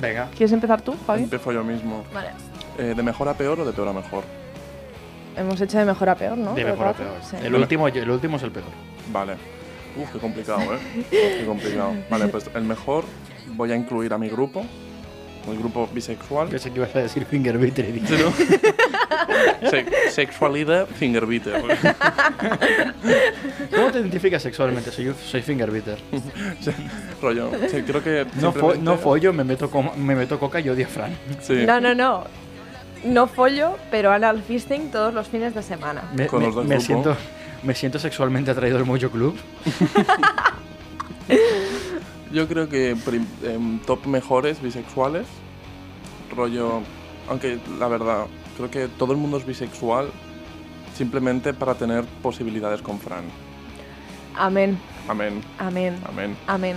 Venga.
¿Quieres empezar tú, Fabi?
Empiezo yo mismo.
Vale.
Eh, ¿De mejor a peor o de peor a mejor?
Hemos hecho de mejor a peor, ¿no?
De
Todo el
mejor a
rato.
peor.
Sí.
El, último, el último es el peor.
Vale. Uf, qué complicado, ¿eh? Qué complicado. Vale, pues el mejor voy a incluir a mi grupo, el grupo bisexual.
Pensé que ibas a decir finger beater y dije,
Se- sexualidad finger beater.
¿Cómo te identificas sexualmente? Soy, soy finger beater.
Sí, Rollo. Sí, creo que.
No, fo-
simplemente-
no follo, me meto, coma- me meto coca y odio a Fran.
Sí.
No, no, no. No follo, pero anal fisting todos los fines de semana.
Me,
Con
me-
los dos
me
grupos.
siento, me siento sexualmente atraído al Mojo Club.
Yo creo que prim- em, top mejores bisexuales. Rollo. Aunque la verdad, creo que todo el mundo es bisexual simplemente para tener posibilidades con Fran.
Amén,
Amén,
amén,
amén.
amén.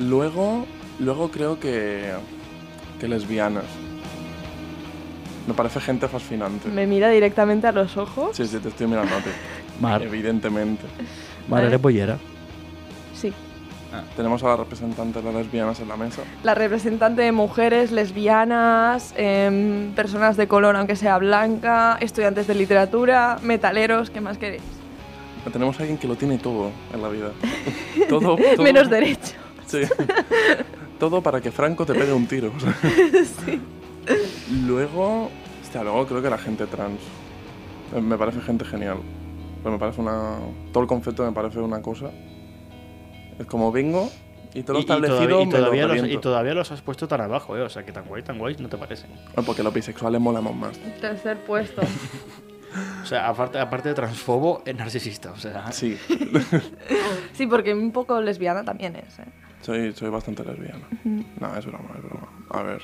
Luego, luego creo que. que lesbianas. Me parece gente fascinante.
Me mira directamente a los ojos.
Sí, sí, te estoy mirando a ti.
Mar,
Evidentemente.
Mar,
¿Eh?
eres pollera.
Sí.
Tenemos a la representante de las lesbianas en la mesa.
La representante de mujeres, lesbianas, em, personas de color, aunque sea blanca, estudiantes de literatura, metaleros, ¿qué más queréis?
Tenemos a alguien que lo tiene todo en la vida. Todo, todo-
Menos derecho.
Sí. Todo para que Franco te pegue un tiro. o sea. Luego. Hostia, luego creo que la gente trans. Eh, Me parece gente genial. Pero me parece una. Todo el concepto me parece una cosa. Es como vengo y todo lo
Y- y todavía-
establecido
y todavía,
me lo
los, y
reviento.
todavía los has puesto tan abajo, ¿eh? O sea, que tan guay, tan guay, no te parecen.
Ah, Porque los bisexuales molamos más.
Tercer puesto.
O sea, aparte, aparte de transfobo, es narcisista. O sea,
Sí,
Sí, porque un poco lesbiana también es. ¿eh?
soy, soy bastante lesbiana. No, es broma, es broma. A ver.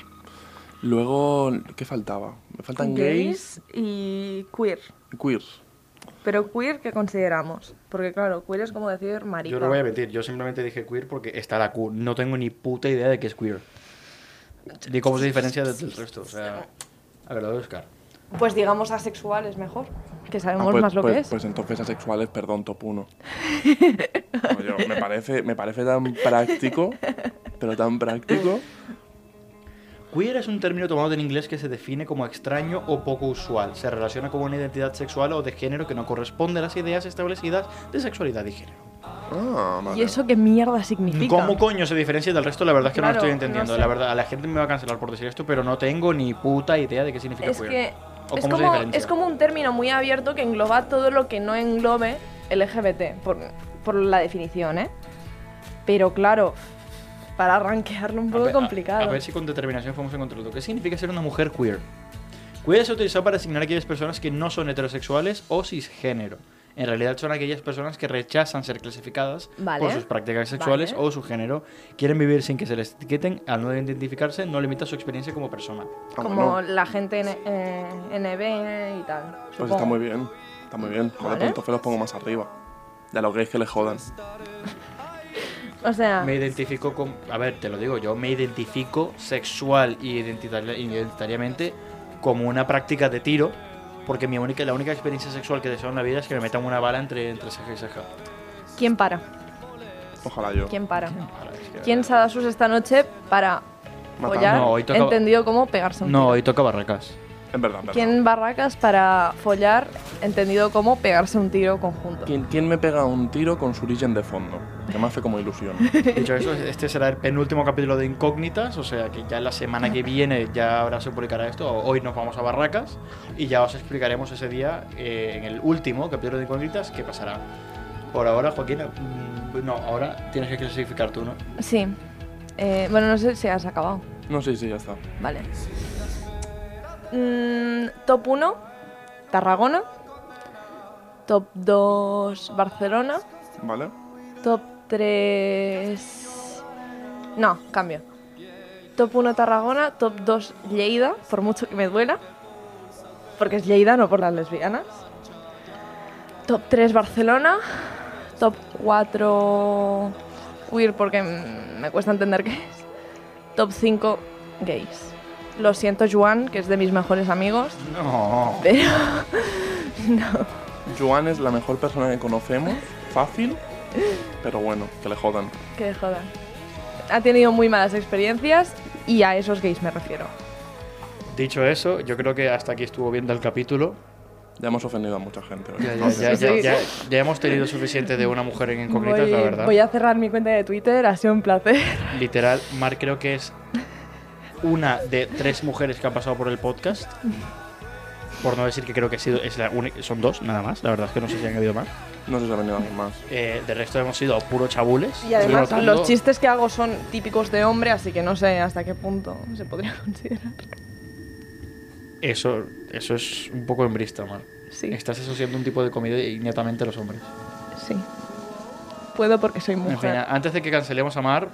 Luego, ¿qué faltaba? Me faltan gays,
y queer.
y queers.
Pero queer, ¿qué consideramos? Porque claro, queer es como decir marica.
yo no voy a mentir, yo simplemente dije queer porque está la Q. No tengo ni puta idea de qué es queer. Ni cómo se diferencia del, del resto. O sea, a ver, lo voy a buscar.
Pues digamos asexual es mejor, que
Ah,
sabemos
pues,
más lo
pues-
que es.
Pues entonces asexuales, perdón, top 1. me, parece, me parece tan práctico, pero tan práctico.
Queer es un término tomado del inglés que se define como extraño o poco usual. Se relaciona con una identidad sexual o de género que no corresponde a las ideas establecidas de sexualidad y género.
Ah, vale.
¿Y eso qué mierda significa?
pues, ¿Cómo coño se diferencia del resto? La verdad es que no
Claro,
lo estoy entendiendo.
no sé.
La verdad, a la gente me va a cancelar por decir esto, pero no tengo ni puta idea de qué significa
es
queer.
que
¿O
es
cómo se
como,
diferencia?
es como un término muy abierto que engloba todo lo que no englobe LGBT, por, por la definición, ¿eh? Pero claro, para arranquearlo un
A
poco
ver- a-
complicado.
A, ver si con determinación podemos encontrarlo. ¿Qué significa ser una mujer queer? Queer se utiliza para asignar a aquellas personas que no son heterosexuales o cisgénero. En realidad son aquellas personas que rechazan ser clasificadas
Vale.
por sus prácticas sexuales
Vale.
o su género. Quieren vivir sin que se les etiqueten. Al no identificarse, no limita su experiencia como persona.
Ah,
como
bueno,
la gente en eh, NB y tal.
pues
supongo.
está muy bien. Está muy bien. Joder,
Vale.
pues entonces los pongo más arriba. Ya los gays que le jodan.
O sea,
Me identifico con. A ver, te lo digo, yo me identifico sexual y identitari- identitariamente como una práctica de tiro, porque mi única, la única experiencia sexual que deseo en la vida es que me metan una bala entre, entre ceja y ceja.
¿quién para?
Ojalá yo.
¿Quién para?
Ahora, es que-
¿Quién se ha dado sus esta noche para
Matar.
follar?
No, hoy toca-
Entendido como pegarse un
No,
tiro.
hoy toca barracas.
En verdad, en verdad.
¿Quién barracas para follar? Entendido como pegarse un tiro conjunto.
¿Quién, quién me pega un tiro con su origen de fondo? Que me hace como ilusión.
Dicho eso, este será el penúltimo capítulo de Incógnitas, o sea que ya la semana que viene ya ahora se publicará esto. Hoy nos vamos a Barracas y ya os explicaremos ese día eh, en el último capítulo de Incógnitas qué pasará. Por ahora, Joaquín, mm, no, ahora tienes que clasificar tú, ¿no?
Sí. Eh, bueno, no sé si has acabado.
No, sí, sí, ya está.
Vale. Mm, top 1, Tarragona. Top 2, Barcelona.
¿Vale?
Top 3... No, cambio. Top 1, Tarragona. Top 2, Lleida, por mucho que me duela. Porque es Lleida, no por las lesbianas. Top 3, Barcelona. Top 4, queer, porque mm, me cuesta entender qué es. Top 5, gays. Lo siento, Juan, que es de mis mejores amigos,
No.
pero
Joan es la mejor persona que conocemos. Fácil, pero bueno, que le jodan.
que jodan. Ha tenido muy malas experiencias y a esos gays me refiero.
Dicho eso, yo creo que hasta aquí estuvo viendo el capítulo.
Ya hemos ofendido a mucha gente. hoy.
Ya, ya, ya, ya,
Sí.
ya- ya hemos tenido suficiente de una mujer en incógnitas,
voy,
la verdad.
voy a cerrar mi cuenta de Twitter, ha sido un placer.
Literal, Mar creo que es una de tres mujeres que han pasado por el podcast. Por no decir que creo que ha sido, es la única- son dos nada más, la verdad es que no sé si han habido más.
No sé si ha venido alguien más.
Eh, de resto hemos sido puro chabules.
Y además
Estoy notando-
los chistes que hago son típicos de hombre, así que no sé hasta qué punto se podría considerar.
Eso, eso es un poco embrista, Mar.
Sí,
Estás asociando un tipo de comida y netamente a los hombres.
sí. Puedo porque soy
En fin,
mujer.
antes de que cancelemos a Mar,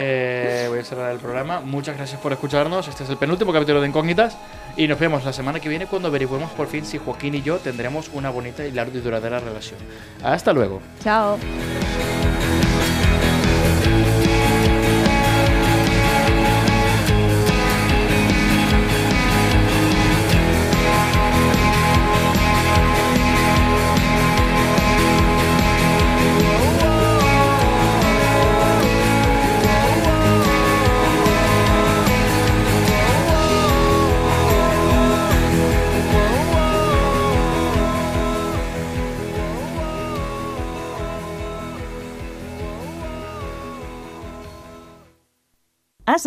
eh, voy a cerrar el programa. Muchas gracias por escucharnos. Este es el penúltimo capítulo de Incógnitas. Y nos vemos la semana que viene cuando averigüemos por fin si Joaquín y yo tendremos una bonita y larga y duradera relación. Hasta luego.
Chao.
Has